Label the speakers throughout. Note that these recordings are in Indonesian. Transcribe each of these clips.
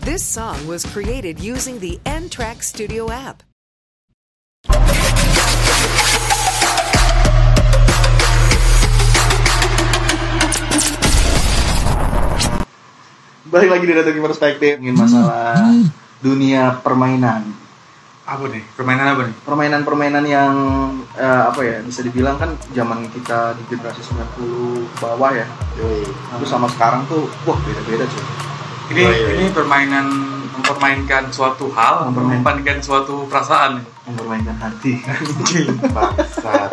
Speaker 1: This song was created using the N Track Studio app.
Speaker 2: Balik lagi di Datangin Perspektif Ingin masalah dunia permainan
Speaker 3: apa nih permainan apa nih
Speaker 2: Permainan-permainan yang eh, apa ya bisa dibilang kan zaman kita di generasi 90 ke bawah ya Terus sama sekarang tuh wah beda-beda cuy
Speaker 3: ini
Speaker 4: Yoi, yoi.
Speaker 3: ini permainan mempermainkan suatu hal
Speaker 2: Mempermain-
Speaker 3: mempermainkan suatu perasaan
Speaker 2: Mempermainkan hati
Speaker 4: Bangsat.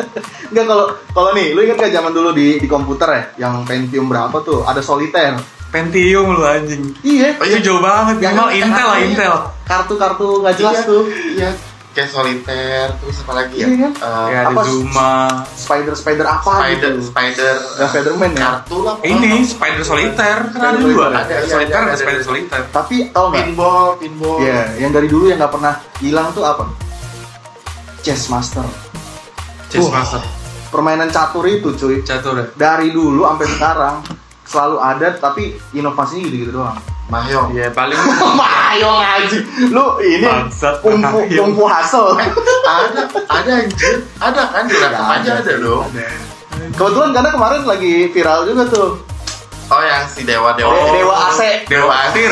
Speaker 2: Enggak kalau kalau nih lu ingat gak zaman dulu di di komputer ya yang Pentium berapa tuh ada solitaire
Speaker 3: Pentium lu anjing
Speaker 2: Iya
Speaker 3: itu jauh banget
Speaker 2: Yang kan
Speaker 3: minimal Intel lah
Speaker 2: kartunya.
Speaker 3: Intel
Speaker 2: kartu-kartu nggak jelas
Speaker 4: Iya,
Speaker 2: tuh
Speaker 4: Iya. Kayak soliter, terus apa lagi ya?
Speaker 2: Iya, kan?
Speaker 4: Eh,
Speaker 3: ya ada
Speaker 2: apa?
Speaker 3: Zuma
Speaker 2: spider-spider apa
Speaker 4: spider,
Speaker 2: gitu
Speaker 4: spider. eh,
Speaker 2: Nggak Spiderman ya
Speaker 4: Kartu lah.
Speaker 3: ini
Speaker 4: pokoknya.
Speaker 3: Spider Solitaire
Speaker 2: Spider
Speaker 3: kan ada dua
Speaker 2: Solitaire.
Speaker 3: ada
Speaker 4: Ada, iya, ada,
Speaker 3: Solitaire ada
Speaker 4: ada,
Speaker 3: Spider
Speaker 4: ada.
Speaker 3: Solitaire
Speaker 2: tapi tau nggak
Speaker 4: Pinball, pinball.
Speaker 2: Iya, yang dari dulu yang nggak pernah hilang tuh apa? Chess Master.
Speaker 3: Chess
Speaker 2: Wah.
Speaker 3: Master
Speaker 2: Permainan catur itu, cuy.
Speaker 3: catur ya
Speaker 2: Dari dulu sampai sekarang selalu ada tapi inovasinya gitu-gitu doang.
Speaker 4: Mahjong.
Speaker 2: Iya.
Speaker 3: ya paling
Speaker 2: Mayong aja. Lu ini
Speaker 3: Bangsat, Iya.
Speaker 2: kungfu
Speaker 3: Mayong.
Speaker 2: kungfu hasil.
Speaker 4: ada, ada anjir. Ada kan di laptop
Speaker 2: Nggak
Speaker 4: aja
Speaker 2: ada.
Speaker 4: ada dong.
Speaker 2: Kebetulan karena kemarin lagi viral juga tuh.
Speaker 4: Oh yang si dewa dewa.
Speaker 2: Oh, Dewa AC.
Speaker 4: Dewa.
Speaker 3: Dewa Atir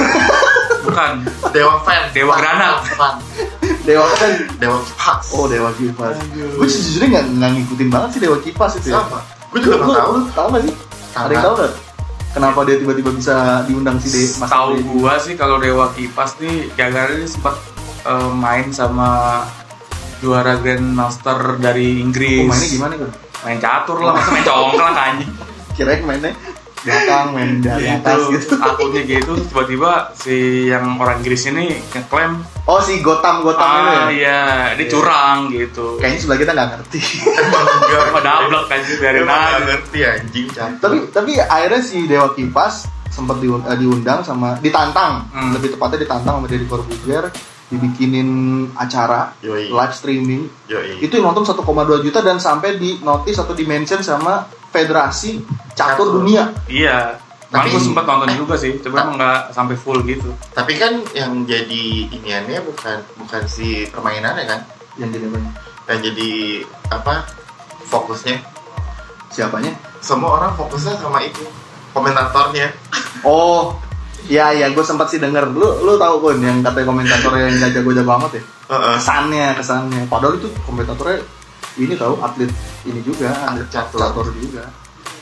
Speaker 3: bukan
Speaker 4: Dewa fan.
Speaker 3: Dewa
Speaker 4: Fan,
Speaker 3: granat.
Speaker 4: fan, fan.
Speaker 2: Dewa kan.
Speaker 4: Dewa kipas.
Speaker 2: Oh, Dewa Kipas. Gue sejujurnya nggak nggak ngikutin banget sih Dewa Kipas itu ya.
Speaker 4: Sama. Gue juga
Speaker 2: Lu-
Speaker 4: nggak tahu.
Speaker 2: Lu tahu nggak sih?
Speaker 4: Tahu.
Speaker 2: Ada yang tahu nggak? Kenapa dia tiba-tiba bisa diundang si De Mas
Speaker 3: tahu
Speaker 2: Ade?
Speaker 3: gua sih kalau Dewa Kipas nih gara-gara dia sempat eh, main sama juara Grandmaster dari
Speaker 2: Oh,
Speaker 3: Inggris
Speaker 2: mainnya gimana kan?
Speaker 3: main catur lah masa main congklak anjing
Speaker 2: kirain mainnya belakang main dari atas gitu
Speaker 3: Itu, akunnya gitu terus tiba-tiba si yang orang Inggris ini ngeklaim
Speaker 2: oh si gotam gotam
Speaker 3: ah
Speaker 2: ini ya? Iya.
Speaker 3: iya dia curang gitu
Speaker 2: kayaknya sebelah kita nggak ngerti
Speaker 3: Emang dablek kan sih
Speaker 2: Iya,
Speaker 3: biarin
Speaker 4: Emang nggak
Speaker 3: aja
Speaker 4: ngerti anjing catur.
Speaker 2: tapi tapi akhirnya si dewa kipas sempat diun- eh, diundang sama ditantang
Speaker 3: Hmm.
Speaker 2: lebih tepatnya ditantang sama Deddy Corbuzier dibikinin acara
Speaker 4: Yoi.
Speaker 2: live streaming
Speaker 4: Yoi.
Speaker 2: itu yang nonton 1,2 juta dan sampai di notice atau di mention sama Federasi Catur
Speaker 4: Catur.
Speaker 2: Dunia
Speaker 3: iya Tapi,
Speaker 4: Tapi-
Speaker 3: gue sempat nonton juga sih, cuma emang nggak sampai full gitu.
Speaker 4: Tapi kan yang jadi iniannya bukan bukan si permainannya kan,
Speaker 2: yang jadi apa?
Speaker 4: yang jadi apa fokusnya
Speaker 2: siapanya
Speaker 4: semua orang fokusnya sama itu komentatornya
Speaker 2: oh Iya, iya, gue sempat sih denger. Lu, lu tahu kan yang katanya komentator yang gak jago-jago amat ya?
Speaker 4: Heeh.
Speaker 2: kesannya kesannya padahal itu komentatornya ini tahu atlet ini juga atlet
Speaker 4: catur.
Speaker 2: catur juga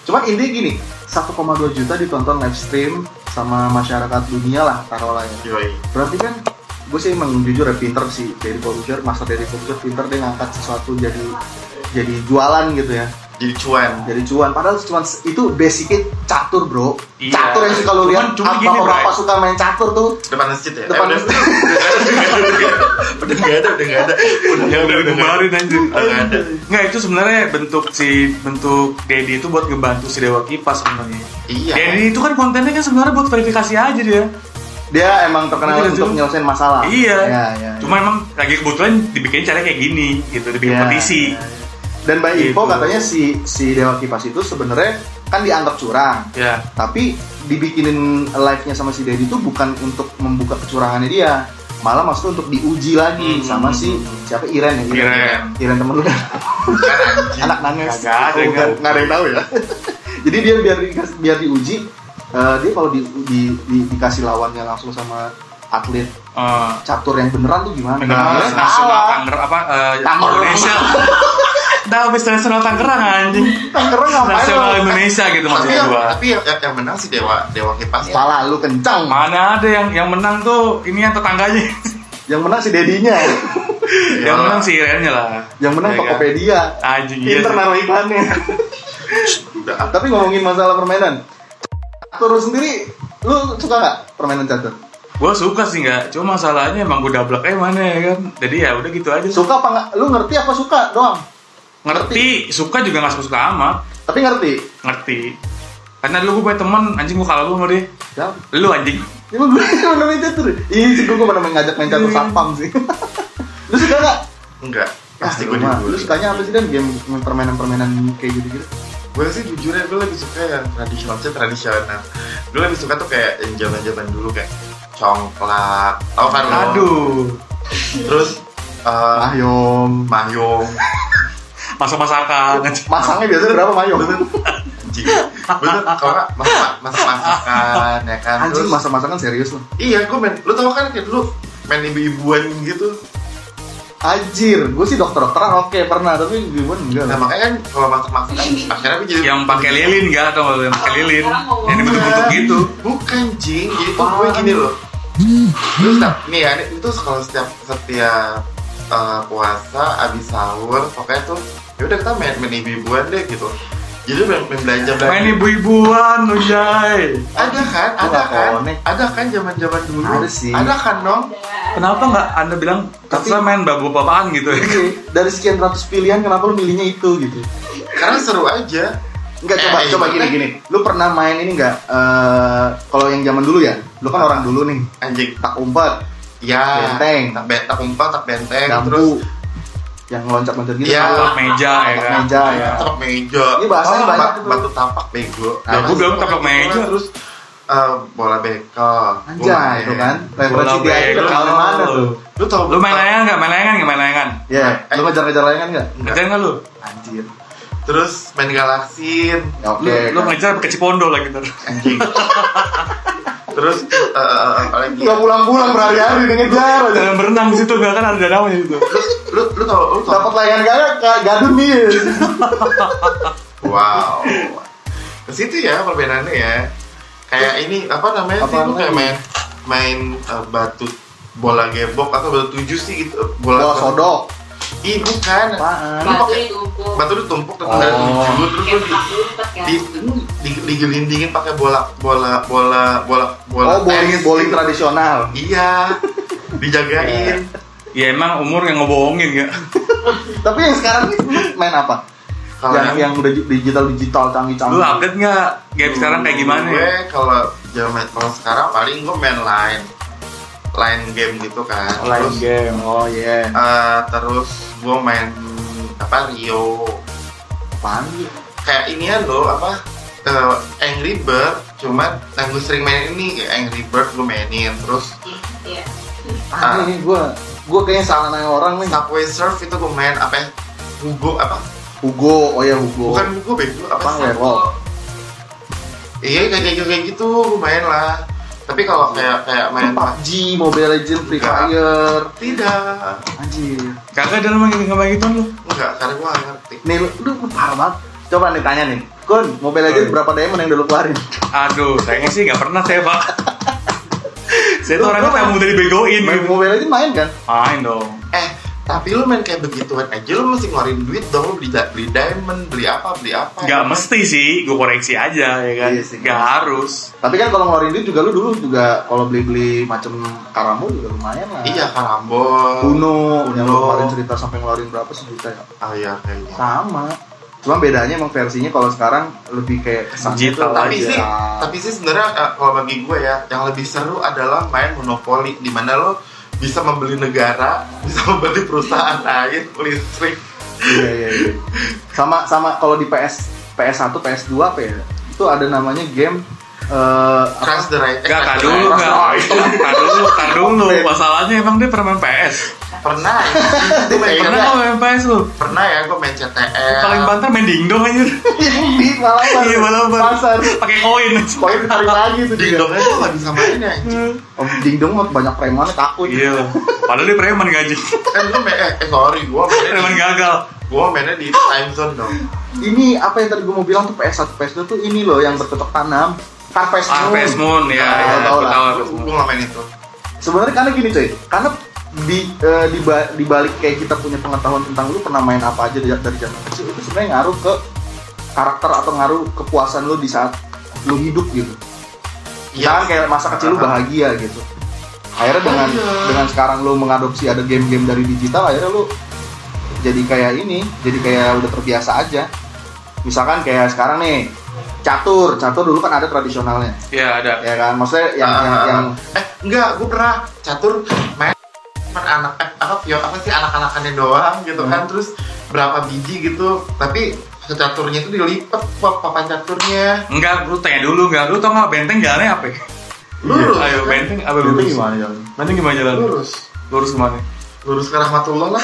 Speaker 2: cuman intinya gini 1,2 juta ditonton live stream sama masyarakat dunia lah taruhlah ya
Speaker 4: Yoi.
Speaker 2: berarti kan gue sih emang jujur ya pinter sih dari Corbuzier master dari Corbuzier pinter dia ngangkat sesuatu jadi jadi jualan gitu ya
Speaker 4: jadi cuan
Speaker 2: jadi cuan padahal cuman se- itu basicnya catur bro
Speaker 3: Iya.
Speaker 2: catur yang suka
Speaker 3: Cuman-
Speaker 2: lu lihat
Speaker 3: cuman
Speaker 2: apa
Speaker 3: gini, Bray.
Speaker 2: bapak suka main catur tuh
Speaker 4: depan masjid ya
Speaker 2: Depan
Speaker 4: udah-
Speaker 2: masjid.
Speaker 4: udah nggak ada udah nggak ada
Speaker 3: Iya,
Speaker 2: Iya,
Speaker 4: udah nggak ada udah nggak ada udah nggak ada
Speaker 3: dibubarin anjir.
Speaker 4: Udah nggak ada
Speaker 3: Nggak, itu sebenarnya bentuk si bentuk Dedi itu buat ngebantu si Dewa Kipas sebenarnya.
Speaker 4: iya
Speaker 3: Dedi itu kan kontennya kan sebenarnya buat verifikasi aja dia.
Speaker 2: dia emang terkenal
Speaker 3: Iya,
Speaker 2: untuk
Speaker 3: cuman-
Speaker 2: nyelesain masalah
Speaker 3: Iya.
Speaker 2: Ya, ya, ya.
Speaker 3: Cuma emang lagi kebetulan dibikin cara kayak gini gitu, dibikin
Speaker 2: Iya.
Speaker 3: petisi.
Speaker 2: Dan by
Speaker 3: Gitu.
Speaker 2: info katanya si si Dewa Kipas itu sebenarnya kan dianggap curang,
Speaker 3: Ya.
Speaker 2: tapi dibikinin live-nya sama si Dedi itu bukan untuk membuka kecurangannya dia, malah maksudnya untuk diuji lagi
Speaker 3: Hmm.
Speaker 2: sama si siapa Iren ya
Speaker 3: Iren. Iya.
Speaker 2: Iren temen lu kan?
Speaker 4: kan anjing
Speaker 2: anak nanes
Speaker 3: Kagak ada yang
Speaker 2: Bukan,
Speaker 3: tahu.
Speaker 2: nggak ada yang tahu ya jadi dia biar dikas- biar diuji eh, dia kalau di, di- di- dikasih lawannya langsung sama atlet
Speaker 3: Eh,
Speaker 2: catur yang beneran tuh gimana?
Speaker 3: Negara
Speaker 2: Dia
Speaker 3: nasional
Speaker 2: kalah.
Speaker 3: Tangerang apa eh,
Speaker 2: Nah, Tangerang.
Speaker 3: Indonesia. Dah habis nasional Tangerang anjing.
Speaker 2: Tangerang ngapain
Speaker 3: Nasional
Speaker 2: lo?
Speaker 3: Indonesia gitu
Speaker 4: tapi
Speaker 3: maksudnya
Speaker 4: yang
Speaker 3: gua.
Speaker 4: tapi yang, yang- yang menang si dewa dewa kipas ya.
Speaker 2: Salah lu kencang.
Speaker 3: Mana ada yang yang menang tuh ini yang tetangganya.
Speaker 2: Yang menang si dedinya.
Speaker 3: yang menang si Irennya lah.
Speaker 2: Ya. Yang menang
Speaker 3: Ya kan?
Speaker 2: Tokopedia.
Speaker 3: Anjing iya
Speaker 2: Pinter
Speaker 3: sih.
Speaker 2: naruh iklannya.
Speaker 4: udah apa
Speaker 2: Tapi ngomongin masalah permainan. Catur sendiri lu suka nggak permainan catur?
Speaker 3: Gua suka sih nggak, cuma masalahnya emang gua dablek eh mana ya kan. Jadi ya udah gitu aja.
Speaker 2: Suka apa nggak? Lu ngerti apa suka doang?
Speaker 3: ngerti, suka juga nggak suka suka amat.
Speaker 2: Tapi ngerti.
Speaker 3: Ngerti. Karena dulu gua punya temen, anjing gua kalah lu mau deh.
Speaker 2: Ya,
Speaker 3: Lu anjing.
Speaker 2: ya gue pernah main catur. Ih, sih gue pernah main ngajak main
Speaker 3: Iya.
Speaker 2: catur satpam sih. lu suka nggak?
Speaker 4: enggak pasti
Speaker 2: Ah,
Speaker 4: gue
Speaker 2: lu mah. Lu
Speaker 4: dibully
Speaker 2: sukanya apa sih dan game game permainan-permainan kayak gitu-gitu?
Speaker 4: gue sih jujurnya gue lebih suka yang tradisional sih tradisional gue lebih suka tuh kayak yang zaman zaman dulu kayak congklak tau
Speaker 2: Oh.
Speaker 4: kan lo?
Speaker 3: Aduh,
Speaker 4: terus eh,
Speaker 2: Mahyom.
Speaker 4: mayong
Speaker 3: masak-masakan.
Speaker 2: Masangnya biasanya berapa Mahyom?
Speaker 4: anjing bener kalau nggak masak masak masakan ya kan
Speaker 2: Anjing
Speaker 4: terus
Speaker 2: masa-masakan serius loh.
Speaker 4: iya gue main lu tau kan kayak dulu main ibu-ibuan gitu
Speaker 2: Anjir, gue sih dokter-dokteran oke pernah, tapi gue enggak
Speaker 4: nah
Speaker 2: lah.
Speaker 4: makanya kan kalau masak masakan akhirnya gue jadi
Speaker 3: Yang pakai lilin nggak atau yang pakai lilin? Yang dibentuk-bentuk gitu.
Speaker 4: bukan jing jadi tuh gue gini loh terus setiap nih ya ini- itu kalau setiap setiap eh, puasa abis sahur pokoknya tuh ya udah kita main main ibu-ibuan deh gitu jadi main, main belanja belanja
Speaker 3: Main ibu-ibuan, Ujay.
Speaker 4: ada kan
Speaker 2: Gua
Speaker 4: ada
Speaker 2: nggak
Speaker 4: kan
Speaker 2: connect.
Speaker 4: ada kan zaman zaman dulu
Speaker 2: Ada sih.
Speaker 4: ada kan dong
Speaker 3: Kenapa nggak Anda bilang
Speaker 2: Tapi-
Speaker 3: tapi main babu papaan gitu ya?
Speaker 2: Iya, dari sekian ratus pilihan kenapa lu milihnya itu gitu
Speaker 4: karena seru aja
Speaker 2: Enggak coba
Speaker 4: Eh,
Speaker 2: coba gini
Speaker 4: gimana?
Speaker 2: gini lu pernah main ini enggak eh kalau yang zaman dulu ya lu kan orang dulu nih
Speaker 4: anjing
Speaker 2: tak umpet
Speaker 4: ya
Speaker 2: Benteng.
Speaker 4: tak ben- tak umpah tak benteng Eh,
Speaker 2: dambu
Speaker 4: terus
Speaker 2: yang loncat loncat gitu
Speaker 4: Iya.
Speaker 3: Tapak meja ya
Speaker 2: tapak
Speaker 3: kan?
Speaker 2: meja ya
Speaker 4: tapak Iya, meja
Speaker 2: Ini bahasanya
Speaker 4: Oh,
Speaker 2: banyak
Speaker 4: batu,
Speaker 2: tuh.
Speaker 4: batu tapak bego
Speaker 2: Nah, gua
Speaker 4: Apa sih?
Speaker 3: Ya, bilang tapak meja.
Speaker 4: terus eh, bola bekel
Speaker 2: anjay itu kan referensi
Speaker 3: Bola
Speaker 2: dia itu
Speaker 3: bekel.
Speaker 2: kalau mana tuh
Speaker 4: lu tau
Speaker 3: Lu main layangan nggak? Main layangan nggak? Main layangan?
Speaker 2: ya
Speaker 4: Eh,
Speaker 2: lu ngejar ngejar layangan enggak
Speaker 3: Ngejar nggak lu?
Speaker 2: anjir
Speaker 4: terus main galaksin
Speaker 2: ya oke
Speaker 3: Lu, lu
Speaker 2: kan.
Speaker 3: ngejar pakai cipondo lagi terus.
Speaker 4: anjing terus eh, eh, eh, apa lagi
Speaker 2: nggak pulang pulang berhari hari ngejar aja
Speaker 3: Jangan berenang di situ nggak kan ada namanya itu.
Speaker 4: terus lu lu tau lu tau
Speaker 2: dapat layangan gak Kak? gadun nih
Speaker 4: wow ke situ ya perbedaannya ya kayak ini apa namanya sih
Speaker 2: Apaan
Speaker 4: lu kayak
Speaker 2: lagi?
Speaker 4: main main eh, batu bola gebok atau batu tujuh sih gitu eh, bola,
Speaker 2: bola sodok
Speaker 4: ih bukan
Speaker 2: Apaan?
Speaker 4: lu pakai
Speaker 5: tumpuk
Speaker 4: batu ditumpuk terus
Speaker 2: Oh.
Speaker 4: ada tujuh terus lu
Speaker 5: kayak
Speaker 4: di-
Speaker 5: petak umpet kan
Speaker 4: di, di, digelindingin pakai bola bola bola bola bola
Speaker 2: oh bowling
Speaker 4: tenis.
Speaker 2: bowling tradisional
Speaker 4: iya dijagain
Speaker 3: Ya emang umur yang ngebohongin ya.
Speaker 2: Tapi yang sekarang ini lu main apa?
Speaker 4: kalau
Speaker 2: yang yang udah digital digital canggih canggih.
Speaker 3: Lu update nggak game sekarang kayak gimana
Speaker 4: gue
Speaker 3: ya?
Speaker 2: Iya.
Speaker 4: kalau zaman kalau sekarang paling gue main line line game gitu kan terus
Speaker 3: game.
Speaker 2: Oh iya.
Speaker 4: eh, terus gue main apa Rio
Speaker 2: Apaan sih?
Speaker 4: kayak ini ya lo apa eh, Angry Bird cuman yang gue sering main ini kayak Angry Bird gue mainin terus
Speaker 5: Iya.
Speaker 2: Aneh nih gue. Gue kayaknya salah nanya orang nih.
Speaker 4: Subway Surf itu gue main apa ya? Hugo apa
Speaker 2: Hugo, oh ya Hugo.
Speaker 4: bukan Hugo bego apa
Speaker 2: Apa
Speaker 4: sih?
Speaker 2: werewolf?
Speaker 4: Iya kayak kayak kayak gitu gue main lah. Tapi kalau kayak kayak main
Speaker 2: PUBG, Mobile Legends, Free
Speaker 4: Enggak.
Speaker 2: Fire.
Speaker 4: tidak,
Speaker 2: Anjir.
Speaker 3: Kagak ada namanya nggak kayak gitu lu.
Speaker 4: enggak karena gue nggak ngerti.
Speaker 2: Nih lu, lu lu parah banget. Coba nih tanya nih. Kun, Mobile Legends
Speaker 3: Hmm.
Speaker 2: berapa diamond yang udah lu keluarin?
Speaker 3: Aduh, sayangnya sih nggak pernah saya pak. saya
Speaker 2: Lu-
Speaker 3: tuh orangnya
Speaker 2: lu
Speaker 3: tak
Speaker 2: main-
Speaker 3: mudah dibegoin. gitu.
Speaker 2: Main Mobile Legends main kan?
Speaker 3: Main dong.
Speaker 4: Eh tapi lu main kayak begituan aja lu mesti ngeluarin duit dong lu beli beli diamond beli apa beli apa.
Speaker 3: Gak mesti sih, gue koreksi aja ya kan.
Speaker 2: Iya sih.
Speaker 3: Gak harus.
Speaker 2: Tapi kan kalau ngeluarin duit juga lu dulu juga kalau beli-beli macam karambol juga lumayan lah.
Speaker 4: Iya karambol.
Speaker 2: Uno, yang
Speaker 4: Uno.
Speaker 2: lu kemarin cerita sampai ngeluarin berapa sejuta ya?
Speaker 4: Ah iya kayaknya.
Speaker 2: sama cuma bedanya emang versinya kalau sekarang lebih kayak kesannya
Speaker 3: Digital
Speaker 2: tuh
Speaker 4: Tapi
Speaker 2: aja.
Speaker 4: sih, tapi sih sebenarnya eh, kalau bagi gue ya, yang lebih seru adalah main monopoli di mana lo bisa membeli negara, bisa membeli perusahaan Nah, lain, listrik.
Speaker 2: iya iya iya sama sama kalau di PS PS1 PS2 apa ya itu ada namanya game eh
Speaker 4: Crash the right. Oh, eh,
Speaker 3: Gak,
Speaker 4: Crash
Speaker 3: tak
Speaker 4: the
Speaker 3: dulu,
Speaker 4: Ride.
Speaker 3: gak. Tak dulu, tak dulu. Masalahnya emang dia pernah main PS.
Speaker 4: Pernah. Gue main
Speaker 3: Pernah
Speaker 4: pernah.
Speaker 3: gak main PS lu?
Speaker 4: pernah Eh, iya, ya gue main CTL
Speaker 3: Paling banter main dingdong aja.
Speaker 2: di Malabar
Speaker 3: Iya, Malabar.
Speaker 2: pasar
Speaker 3: Pakai koin.
Speaker 2: koin ditarik lagi tuh dia
Speaker 4: dingdongnya tuh gak bisa main ya anjing.
Speaker 3: Hmm.
Speaker 2: Om dingdong mah banyak premannya takut
Speaker 3: Iya. Padahal dia preman gaji.
Speaker 4: kan gue main eh, eh, sorry gue mainnya
Speaker 3: Preman
Speaker 4: di,
Speaker 3: gagal.
Speaker 4: gue mainnya di time zone dong
Speaker 2: ini apa yang tadi gue mau bilang tuh PS1 PS2 tuh ini loh yang bercocok tanam Carpes
Speaker 3: Ah, PS Moon ya.
Speaker 2: Ah,
Speaker 3: ya,
Speaker 2: tau
Speaker 3: gua
Speaker 2: lah.
Speaker 3: tahu PS Moon.
Speaker 4: gue gak main itu
Speaker 2: sebenarnya karena gini coy karena di eh, di, ba- di balik kayak kita punya pengetahuan tentang lu pernah main apa aja dari, dari zaman kecil itu sebenarnya ngaruh ke karakter atau ngaruh kepuasan lu di saat lu hidup gitu jangan kayak masa kecil lu bahagia gitu akhirnya dengan
Speaker 4: Iya.
Speaker 2: dengan sekarang lu mengadopsi ada game-game dari digital akhirnya lu jadi kayak ini jadi kayak udah terbiasa aja misalkan kayak sekarang nih catur catur dulu kan ada tradisionalnya
Speaker 3: Iya, ada.
Speaker 2: ya kan maksudnya yang
Speaker 4: Ah,
Speaker 2: yang,
Speaker 4: ah,
Speaker 2: yang
Speaker 4: ah. eh enggak gue pernah catur main cuman anak eh, apa ya apa sih anak-anakannya doang gitu kan terus berapa biji gitu tapi caturnya itu dilipet pap- papan caturnya
Speaker 3: Enggak, lu tanya dulu enggak. Lu tau gak benteng jalannya apa? ya?
Speaker 4: Lurus.
Speaker 3: Ayo benteng apa
Speaker 2: Itu
Speaker 3: lurus?
Speaker 2: gimana ya?
Speaker 3: Benteng gimana jalan?
Speaker 4: Lurus.
Speaker 3: Lurus kemana?
Speaker 4: Lurus ke rahmatullah lah.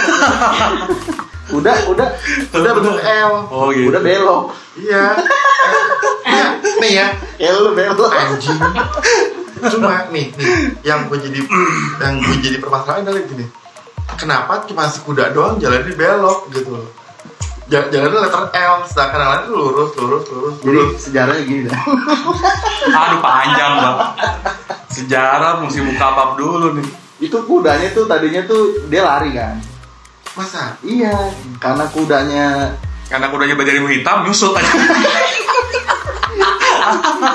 Speaker 2: Udah, udah,
Speaker 4: Udah bentuk L.
Speaker 3: Oh gitu.
Speaker 2: udah belok.
Speaker 4: Iya. Eh, Iya. Nih ya.
Speaker 2: Ya lu belok.
Speaker 4: anjing cuma nih nih yang gue jadi yang gue jadi permasalahan adalah gini kenapa cuma si kuda doang jalannya belok gitu loh Ja- jalannya letter L sedangkan yang lain tuh lurus lurus lurus
Speaker 2: Jadi
Speaker 4: lurus
Speaker 2: sejarahnya gini dah.
Speaker 3: Aduh panjang bang. Ah, Sejarah mesti buka pub dulu nih.
Speaker 2: Itu kudanya tuh tadinya tuh dia lari kan.
Speaker 4: masa
Speaker 2: Iya, karena kudanya
Speaker 3: Karena kudanya belajar ilmu hitam, nyusut aja.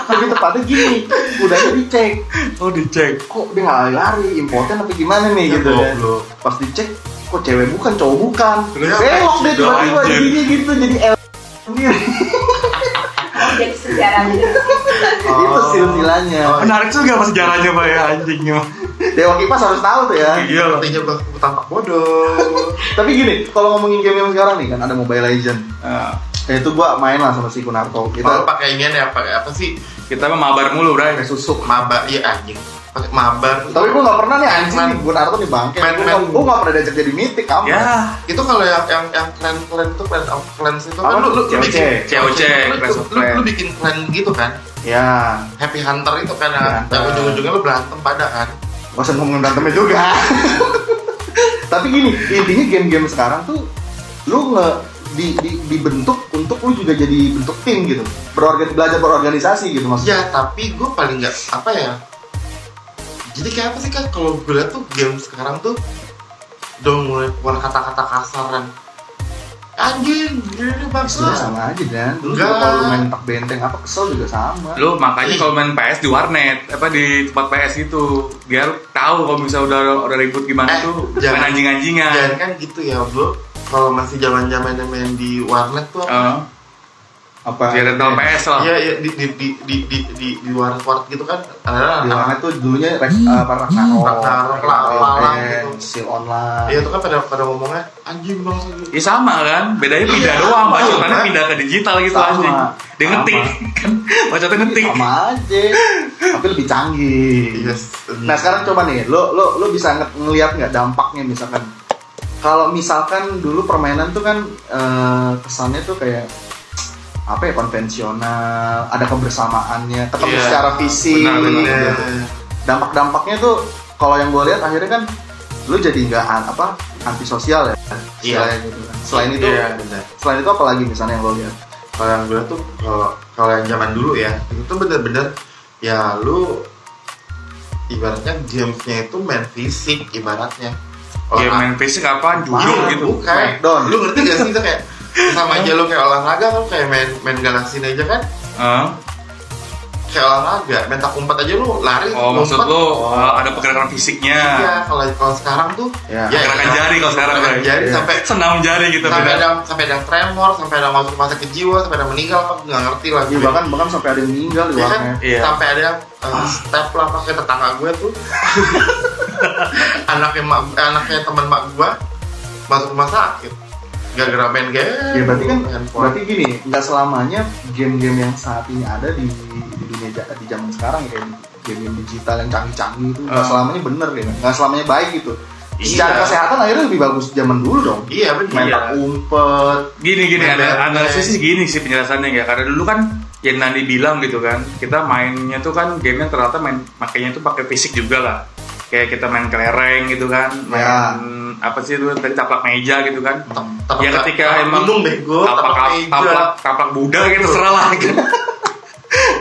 Speaker 2: tapi tepatnya gini, kudanya dicek.
Speaker 3: Oh dicek.
Speaker 2: Kok dia nggak lari-lari, impoten apa gimana nih
Speaker 4: Ya,
Speaker 2: gitu kan.
Speaker 4: goblok.
Speaker 2: Pas dicek, kok cewek bukan, cowok bukan.
Speaker 4: Terus
Speaker 2: Belok
Speaker 3: apa?
Speaker 2: deh tiba-tiba
Speaker 3: Anjir.
Speaker 2: jadi gitu jadi L sendiri.
Speaker 5: jadi sejarah gitu.
Speaker 2: Itu silsilanya.
Speaker 4: Oh.
Speaker 3: Menarik juga mas sejarahnya pak ya anjingnya.
Speaker 2: Dewa Kipas harus tahu tuh ya.
Speaker 3: Iya lah.
Speaker 4: artinya gue tampak bodoh
Speaker 2: Tapi gini, kalau ngomongin game yang sekarang nih kan ada Mobile Legend.
Speaker 3: Nah,
Speaker 2: Ya itu gua main lah sama si Kunarto.
Speaker 4: kalau
Speaker 2: Kita
Speaker 4: pakai ini ya pakai apa sih
Speaker 3: kita mah mabar mulu, Bray.
Speaker 2: pakai susuk.
Speaker 4: mabar iya anjing pakai mabar
Speaker 2: Tapi gua nggak pernah nih anjing
Speaker 4: Man.
Speaker 2: nih Kunarto nih bangke.
Speaker 4: Man,
Speaker 2: Gua
Speaker 4: man.
Speaker 2: nggak- Gua nggak pernah diajak jadi mitik kamu.
Speaker 3: Ya,
Speaker 4: itu kalau yang yang yang clan clan tuh clan of clans itu
Speaker 2: Apa?
Speaker 4: kan lu lu lu
Speaker 2: COC.
Speaker 4: bikin
Speaker 3: COC,
Speaker 4: lu-
Speaker 3: Clash of
Speaker 4: lu- lu- lu
Speaker 3: Clans.
Speaker 4: bikin clan gitu kan
Speaker 2: Ya,
Speaker 4: Happy Hunter itu kan yang,
Speaker 2: Happy Hunter.
Speaker 4: yang ujung-ujungnya lu berantem pada kan
Speaker 2: gak usah ngomongin berantemnya juga. Tapi gini, intinya game-game sekarang tuh lu nge di, di, dibentuk untuk lu juga jadi bentuk tim gitu. Berorgan, belajar berorganisasi gitu maksudnya.
Speaker 4: ya tapi gue paling nggak apa ya jadi kayak apa sih kan kalau gue liat tuh game sekarang tuh udah mulai keluar kata-kata kasar dan anjing gini
Speaker 2: Sebenarnya
Speaker 4: bangsa
Speaker 2: Iya, sama aja dan dulu
Speaker 4: Enggak.
Speaker 2: juga kalau lu main tak benteng apa kesel juga sama.
Speaker 3: lu makanya kalau main PS di warnet, apa di tempat PS gitu, biar tahu kalau misalnya udah udah ribut gimana
Speaker 4: Eh,
Speaker 3: tuh,
Speaker 4: jangan.
Speaker 3: jangan anjing-anjingan.
Speaker 4: dan kan gitu ya bro kalau masih zaman zamannya main di warnet tuh apa?
Speaker 3: Eh,
Speaker 2: Apa?
Speaker 3: di rental PS lah.
Speaker 4: Iya, iya di di di di di di, di warnet warnet gitu kan ada anak
Speaker 2: bilangnya tuh dulunya rek eh, apa Ragnarok,
Speaker 4: Ragnarok,
Speaker 2: Ragnarok,
Speaker 4: lalang
Speaker 2: Ragnarok,
Speaker 4: gitu.
Speaker 2: Seal Online.
Speaker 4: Iya itu kan pada pada ngomongnya anjing bangsa gitu.
Speaker 3: Ya sama kan, bedanya pindah
Speaker 4: Iya,
Speaker 3: doang,
Speaker 4: sama.
Speaker 3: bacotannya pindah ke digital gitu
Speaker 2: Sama.
Speaker 3: anjing. Dia
Speaker 2: Sama.
Speaker 3: ngetik, kan bacotan ngetik.
Speaker 2: sama aja, tapi lebih canggih.
Speaker 4: Yes.
Speaker 2: Nah sekarang coba nih, lo lo lo bisa nge- ngelihat nggak dampaknya misalkan? Kalau misalkan dulu permainan tuh kan eh, kesannya tuh kayak apa ya konvensional, ada kebersamaannya, ketemu
Speaker 4: Iya,
Speaker 2: secara fisik.
Speaker 3: benar, benar.
Speaker 4: Iya.
Speaker 2: gitu. Dampak-dampaknya tuh kalau yang gue lihat akhirnya kan lu jadi nggak an- apa antisosial ya.
Speaker 4: Iya.
Speaker 2: Selain itu kan. Selain itu
Speaker 4: Iya, benar.
Speaker 2: Selain itu apa lagi misalnya yang lo lihat?
Speaker 4: Kalau yang gue tuh kalau kalau yang zaman dulu ya itu tuh bener-bener ya lu ibaratnya gamesnya itu main fisik ibaratnya.
Speaker 3: Ya
Speaker 4: Olah-
Speaker 3: main fisik apaan, jujur
Speaker 4: Iya,
Speaker 3: gitu.
Speaker 4: Bukan.
Speaker 2: Don.
Speaker 4: Lu ngerti gak sih itu kayak sama aja lu kayak olahraga kan kayak main main galasin aja kan
Speaker 3: Eh,
Speaker 4: kayak olahraga main tak umpet aja lu lari
Speaker 3: oh maksud
Speaker 4: ngumpet.
Speaker 3: lu eh, ada pergerakan fisiknya.
Speaker 4: iya kalau kalau sekarang tuh
Speaker 2: Ya.
Speaker 3: Gerakan jari kalau sekarang,
Speaker 4: gerakan
Speaker 3: Bray.
Speaker 4: jari
Speaker 2: Iya.
Speaker 4: sampai
Speaker 3: Senam jari gitu
Speaker 4: sampai
Speaker 3: beda.
Speaker 4: ada sampai ada tremor sampai ada masuk masa ke jiwa sampai ada meninggal apa nggak ngerti lah
Speaker 2: Ya,
Speaker 4: gue.
Speaker 2: bahkan bahkan sampai ada yang meninggal di
Speaker 4: Ya kan?
Speaker 2: warnet.
Speaker 3: Iya.
Speaker 4: sampai ada yang
Speaker 2: Ah.
Speaker 4: eh, step lah pakai tetangga gue tuh anaknya mak, anaknya teman mak gue masuk rumah sakit gara-gara main game
Speaker 2: Ya berarti kan
Speaker 4: handphone.
Speaker 2: berarti gini, nggak selamanya game-game yang saat ini ada di di dunia ja- di zaman sekarang ya game-game digital yang canggih-canggih itu nggak
Speaker 3: Ah.
Speaker 2: selamanya bener ya, nggak selamanya baik gitu.
Speaker 4: Iya.
Speaker 2: Secara kesehatan akhirnya lebih bagus zaman dulu dong.
Speaker 4: iya benar
Speaker 2: Main
Speaker 3: Iya.
Speaker 2: tak umpet,
Speaker 3: gini gini
Speaker 4: Main
Speaker 3: ada
Speaker 4: bareng.
Speaker 3: analisis sih gini sih penjelasannya ya karena dulu kan yang Nandi bilang gitu kan kita mainnya tuh kan gamenya ternyata main makanya tuh pakai fisik juga lah kayak kita main kelereng gitu kan main
Speaker 4: Iya.
Speaker 2: Ya.
Speaker 3: apa sih itu tadi taplak meja gitu kan
Speaker 4: Taplak-
Speaker 3: ya ketika
Speaker 4: taplak
Speaker 3: emang
Speaker 4: gunung bego, taplak
Speaker 3: taplak
Speaker 4: meja.
Speaker 3: taplak taplak Buddha gitu serah lah gitu.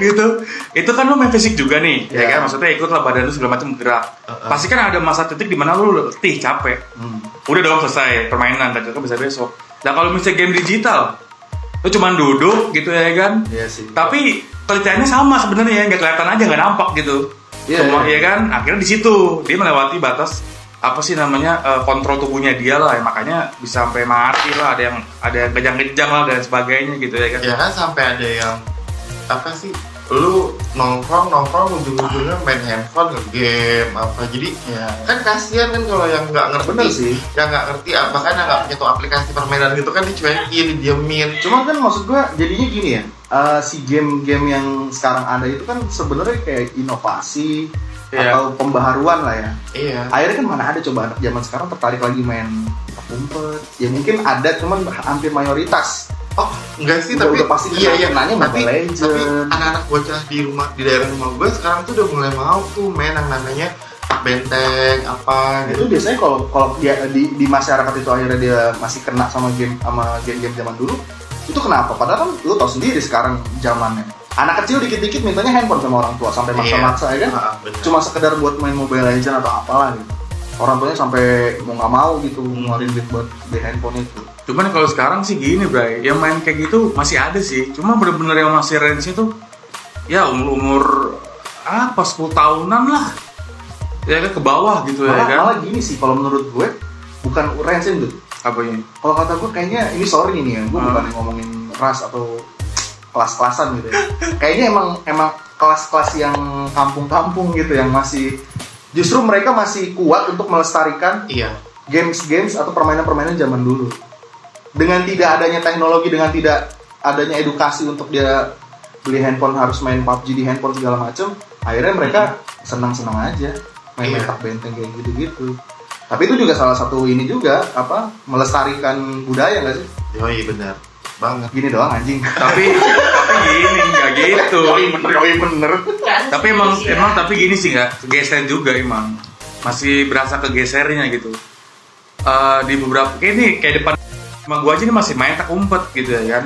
Speaker 3: gitu itu kan lu main fisik juga nih
Speaker 4: Iya.
Speaker 3: ya,
Speaker 2: Ya.
Speaker 3: kan maksudnya ikutlah badan lu segala macam gerak
Speaker 4: Uh-uh.
Speaker 3: pasti kan ada masa titik di mana lu letih capek
Speaker 2: hmm.
Speaker 3: udah dong selesai permainan tadi kan bisa besok nah kalau misalnya game digital lu cuman duduk gitu ya kan
Speaker 2: Iya sih.
Speaker 3: tapi penelitiannya sama sebenarnya ya, nggak kelihatan aja nggak nampak gitu
Speaker 2: Iya,
Speaker 3: semua
Speaker 2: iya.
Speaker 3: ya kan akhirnya di situ dia melewati batas apa sih namanya eh, kontrol tubuhnya dia lah ya, makanya bisa sampai mati lah ada yang ada yang kejang-kejang lah dan sebagainya gitu ya kan
Speaker 4: ya kan sampai ada yang apa sih lu nongkrong nongkrong ujung ujungnya main handphone game apa jadi
Speaker 2: Ya.
Speaker 3: Iya.
Speaker 4: kan kasihan kan kalau yang nggak ngerti
Speaker 2: Bener sih.
Speaker 4: yang nggak ngerti apa kan yang nggak punya tuh aplikasi permainan gitu kan dicuekin didiemin
Speaker 2: Cuma kan maksud gua jadinya gini ya, eh, si game-game yang sekarang ada itu kan sebenarnya kayak inovasi
Speaker 3: Iya.
Speaker 2: atau pembaharuan lah ya.
Speaker 4: iya
Speaker 2: Akhirnya kan mana ada coba anak zaman sekarang tertarik lagi main umpet. Ya mungkin ada cuman hampir mayoritas.
Speaker 4: Oh, enggak sih,
Speaker 2: Udah-
Speaker 4: tapi
Speaker 2: udah pasti
Speaker 4: iya
Speaker 2: kenal-
Speaker 4: iya
Speaker 2: kenalnya Mobile
Speaker 4: tapi,
Speaker 2: Legends.
Speaker 4: tapi anak-anak bocah di rumah di daerah rumah gue sekarang tuh udah mulai mau tuh main yang namanya tak benteng apa
Speaker 2: Nah,
Speaker 4: gitu.
Speaker 2: itu biasanya kalau kalau dia di, di masyarakat itu akhirnya dia masih kena sama game sama game-game zaman dulu itu kenapa? Padahal kan lu tau sendiri sekarang zamannya anak kecil dikit-dikit mintanya handphone sama orang tua
Speaker 4: Iya.
Speaker 2: sampai maksa-maksa ya kan?
Speaker 4: Ah, bener.
Speaker 2: cuma sekedar buat main Mobile Legends atau apalah gitu orang tuanya sampai mau nggak mau gitu ngeluarin duit buat di handphone itu
Speaker 3: Cuman kalau sekarang sih gini, Bray. Yang main kayak gitu masih ada sih. Cuma bener-bener yang masih range itu ya umur-umur apa 10 tahunan lah. Ya kan ke bawah gitu
Speaker 2: malah,
Speaker 3: ya kan.
Speaker 2: malah gini sih kalau menurut gue bukan ransin tuh
Speaker 3: Apanya?
Speaker 2: kalau kata gue kayaknya ini sorry ini ya gue
Speaker 3: Hmm.
Speaker 2: bukan ngomongin ras atau kelas-kelasan gitu ya kayaknya emang emang kelas-kelas yang kampung-kampung gitu yang masih justru mereka masih kuat untuk melestarikan
Speaker 4: iya
Speaker 2: games-games atau permainan-permainan zaman dulu. Dengan tidak adanya teknologi, dengan tidak adanya edukasi untuk dia beli handphone harus main PUBG di handphone segala macem, akhirnya mereka senang-senang aja main main
Speaker 4: Iya.
Speaker 2: tak benteng kayak gitu-gitu. Tapi itu juga salah satu ini juga apa melestarikan budaya nggak sih?
Speaker 4: yoi bener banget
Speaker 2: Gini doang anjing.
Speaker 3: tapi tapi gini nggak gitu
Speaker 2: bener.
Speaker 3: tapi emang emang tapi gini sih nggak geser juga emang masih berasa kegesernya gitu Eh, di beberapa kayak ini kayak depan sama gua aja ini masih main tak umpet gitu ya kan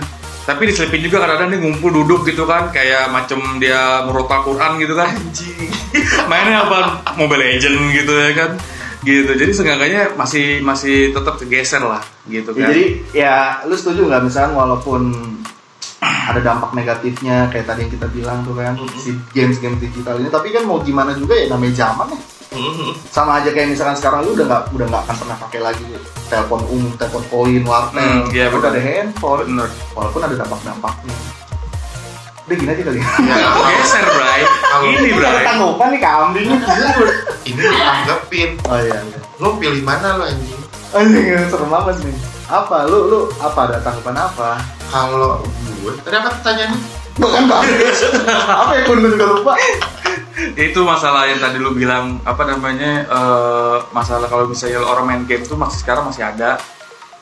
Speaker 3: tapi diselipin juga kadang-kadang dia ngumpul duduk gitu kan kayak macem dia merota Quran gitu kan
Speaker 4: anjing
Speaker 3: mainnya apa Mobile Legend gitu ya kan gitu jadi seenggaknya masih masih tetap kegeser lah gitu
Speaker 2: Ya,
Speaker 3: kan
Speaker 2: jadi ya lu setuju nggak misalnya walaupun ada dampak negatifnya kayak tadi yang kita bilang tuh kan si games-game digital ini tapi kan mau gimana juga ya namanya zaman ya
Speaker 3: Mm-hmm.
Speaker 2: sama aja kayak misalkan sekarang lu udah nggak udah nggak akan pernah pakai lagi telepon umum telepon koin warnet
Speaker 3: Hmm, iya,
Speaker 2: Lu
Speaker 3: benar.
Speaker 2: ada handphone
Speaker 3: Bener.
Speaker 2: walaupun ada dampak-dampaknya udah gini aja kali ya
Speaker 4: ya,
Speaker 3: geser Bray
Speaker 4: Kalau-
Speaker 3: ini
Speaker 2: ada
Speaker 3: Bray
Speaker 2: tanggapan nih kambing
Speaker 4: ini ditanggepin
Speaker 2: oh iya iya
Speaker 4: lu pilih mana lu anjing
Speaker 2: anjing serem banget nih apa lu lu apa ada tanggapan apa
Speaker 4: kalau gue tadi apa pertanyaannya
Speaker 2: bukan kambing apa ya gue juga lupa
Speaker 3: itu masalah yang tadi lu bilang apa namanya eh, masalah kalau misalnya orang main game tuh masih sekarang masih ada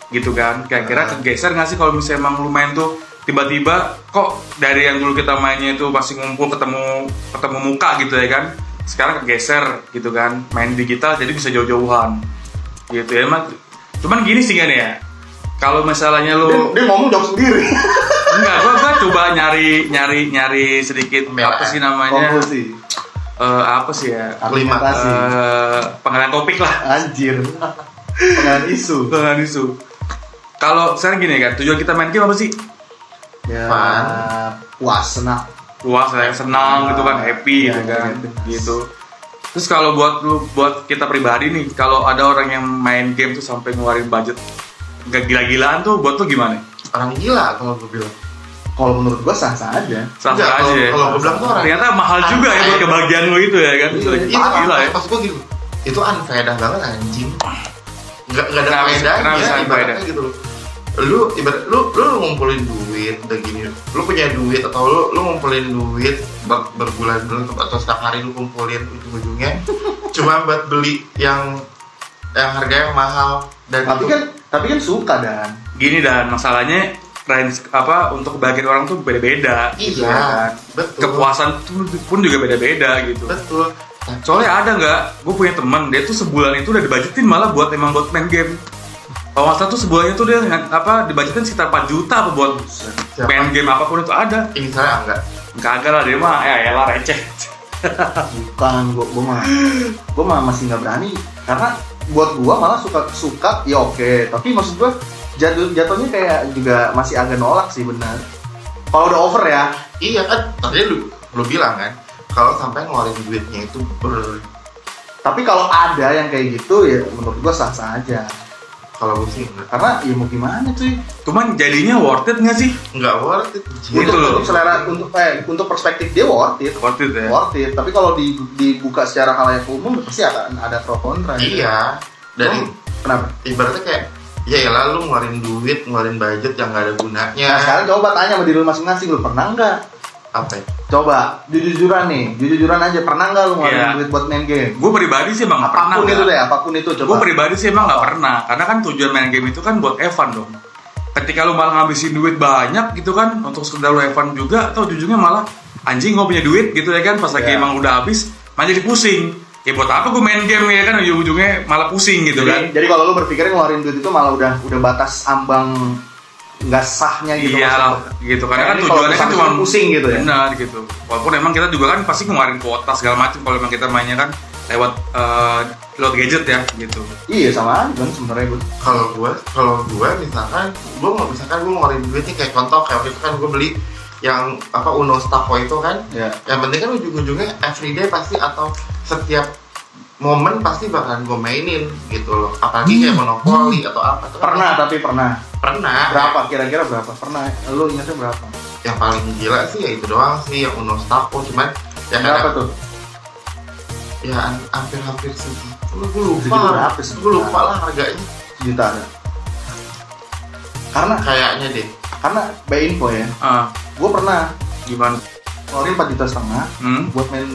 Speaker 3: gitu kan kira-kira kegeser nggak sih kalau misalnya emang lu main tuh tiba-tiba kok dari yang dulu kita mainnya itu masih ngumpul ketemu ketemu muka gitu ya kan sekarang kegeser gitu kan main digital jadi bisa jauh-jauhan gitu ya emang cuman gini sih kan ya kalau misalnya lu
Speaker 2: dia, dia ngomong jawab sendiri
Speaker 3: enggak gua, gua coba nyari nyari nyari sedikit
Speaker 4: Pembelaan.
Speaker 3: apa sih namanya
Speaker 2: konklusi
Speaker 3: Eh, apa sih ya
Speaker 2: argumentasi
Speaker 3: eh pengenalan topik lah
Speaker 2: anjir pengen isu
Speaker 3: pengenalan isu kalau sekarang gini kan tujuan kita main game apa sih
Speaker 2: ya
Speaker 4: Pan.
Speaker 2: puas Nah, senang
Speaker 3: luas kayak senang gitu kan happy
Speaker 2: Iya,
Speaker 3: gitu kan
Speaker 2: happiness.
Speaker 3: gitu terus kalau buat lu buat kita pribadi nih kalau ada orang yang main game tuh sampai ngeluarin budget nggak gila-gilaan tuh buat lu gimana
Speaker 4: orang gila kalau gue bilang
Speaker 2: kalau menurut gua sah-sah aja
Speaker 3: sama
Speaker 4: Enggak,
Speaker 3: aja
Speaker 4: kalau-
Speaker 3: ya.
Speaker 4: kalau gua bilang tuh orang-
Speaker 3: ternyata mahal juga ya buat kebahagiaan lu itu ya kan
Speaker 2: Iya,
Speaker 3: Gila,
Speaker 4: itu
Speaker 3: gila ya
Speaker 4: pas gue gitu itu unfaedah banget anjing nggak nggak ada
Speaker 3: Kenapa sih-
Speaker 4: faedahnya
Speaker 3: kenapa sih
Speaker 4: ibaratnya
Speaker 3: unfaedah?
Speaker 4: gitu loh lu ibarat lu lu ngumpulin duit udah gini lu punya duit atau lu lu ngumpulin duit ber- berbulan-bulan atau setiap hari lu kumpulin ujung-ujungnya cuma buat beli yang yang harganya mahal dan
Speaker 2: tapi kan tapi kan suka dan
Speaker 3: gini dan masalahnya range apa untuk kebahagiaan orang tuh beda-beda gitu
Speaker 4: iya
Speaker 3: ya kan.
Speaker 4: betul
Speaker 3: kepuasan tuh pun juga beda-beda gitu
Speaker 4: betul
Speaker 3: Soalnya ada nggak, gue punya teman, dia tuh sebulan itu udah dibajetin malah buat emang buat main game. Kalau nggak salah tuh sebulannya tuh dia nggak- apa dibajetin sekitar 4 juta apa buat
Speaker 4: Siapa?
Speaker 3: main game apapun itu ada.
Speaker 4: ini misalnya enggak
Speaker 3: Kagak lah dia mah, ya elah receh.
Speaker 2: bukan gua gua mah gua mah masih nggak berani karena buat gua malah suka suka ya oke tapi maksud gua jatuh jatuhnya kayak juga masih agak nolak sih benar kalau udah over ya
Speaker 4: iya kan tadi lu lu bilang kan kalau sampai ngeluarin duitnya itu ber
Speaker 2: tapi kalau ada yang kayak gitu ya menurut gua sah-sah aja
Speaker 4: kalau gue sih enggak
Speaker 2: karena ya mau gimana cuy
Speaker 3: Cuman jadinya worth it nggak sih?
Speaker 4: enggak worth it
Speaker 3: Gitu
Speaker 2: untuk,
Speaker 3: loh.
Speaker 2: untuk Iya. selera untuk eh untuk perspektif dia worth it
Speaker 3: Worth it ya.
Speaker 2: worth it tapi kalau di- dibuka secara halayak umum pasti akan ada pro kontra gitu.
Speaker 4: iya dan
Speaker 2: Oh, kenapa
Speaker 4: ibaratnya kayak ya ya lalu ngeluarin duit ngeluarin budget yang nggak ada gunanya
Speaker 2: nah sekarang coba tanya sama diri lu masing-masing lu pernah nggak
Speaker 4: apa ya?
Speaker 2: coba jujur-jujuran nih jujur-jujuran aja pernah nggak lu ngeluarin
Speaker 3: Iya.
Speaker 2: duit buat main game
Speaker 3: Gue pribadi sih emang nggak pernah.
Speaker 2: apapun itu
Speaker 3: nggak.
Speaker 2: deh apapun itu
Speaker 3: Gue
Speaker 2: coba
Speaker 3: pribadi sih emang nggak pernah, karena kan tujuan main game itu kan buat Evan dong. Ketika lu malah ngabisin duit banyak gitu kan, untuk sekedar lu Evan juga, atau ujungnya malah anjing gue punya duit gitu ya kan, pas lagi
Speaker 2: Ya.
Speaker 3: emang udah habis, malah jadi pusing. Ya buat apa gue main game ya kan, ujung-ujungnya malah pusing gitu
Speaker 2: jadi,
Speaker 3: kan.
Speaker 2: jadi kalau lu berpikir ngeluarin duit itu malah udah udah batas ambang nggak sahnya gitu
Speaker 3: Iya
Speaker 2: maksudnya.
Speaker 3: gitu karena
Speaker 2: Nah,
Speaker 3: kan
Speaker 2: ini kalau
Speaker 3: tujuannya kan
Speaker 2: pusing-
Speaker 3: cuma
Speaker 2: pusing gitu ya?
Speaker 3: Benar gitu. Walaupun emang kita juga kan pasti ngeluarin kuota segala macam kalau emang kita mainnya kan lewat eh, lewat gadget ya gitu.
Speaker 2: iya sama aja kan sebenarnya Bud.
Speaker 4: kalau gua kalau gua misalkan gua mau misalkan gua ngeluarin duit nih kayak contoh kayak waktu itu kan gua beli yang apa Uno Stapo itu kan
Speaker 2: ya
Speaker 4: yang penting kan ujung-ujungnya everyday pasti atau setiap momen pasti bakalan gua mainin gitu loh apalagi kayak monopoli atau apa Itu kan
Speaker 2: Hmm. pernah tapi pernah
Speaker 4: pernah
Speaker 2: berapa kira-kira berapa pernah lu ingatnya berapa
Speaker 4: yang paling gila sih ya itu doang sih yang Uno Stapo cuman ya
Speaker 2: berapa
Speaker 4: kayak
Speaker 2: tuh
Speaker 4: ya an- hampir-hampir segitu Lu- gua
Speaker 2: Segitu
Speaker 4: lupa
Speaker 2: berapa sih?
Speaker 4: gua lupa lah harganya
Speaker 2: juta ada karena
Speaker 4: kayaknya deh
Speaker 2: karena by info ya
Speaker 3: Ah,
Speaker 2: gue pernah
Speaker 3: gimana?
Speaker 2: ngeluarin 4 juta setengah
Speaker 3: Hmm?
Speaker 2: buat main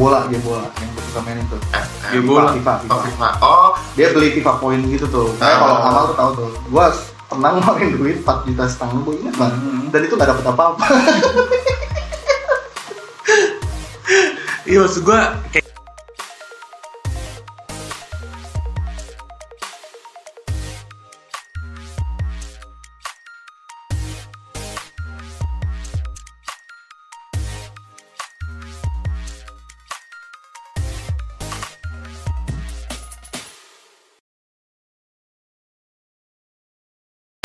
Speaker 2: bola game bola yang gue suka main itu
Speaker 4: FM.
Speaker 2: FIFA,
Speaker 3: Game bola.
Speaker 2: FIFA, FIFA.
Speaker 4: Oh, FIFA. eh, Oh,
Speaker 2: dia beli FIFA point gitu tuh Nah,
Speaker 4: Ah.
Speaker 2: kalau awal tuh tahu tuh gue pernah ngeluarin duit 4 juta setengah gue inget banget
Speaker 3: Hmm.
Speaker 2: dan itu gak dapet apa-apa
Speaker 3: Iya maksud gue kayak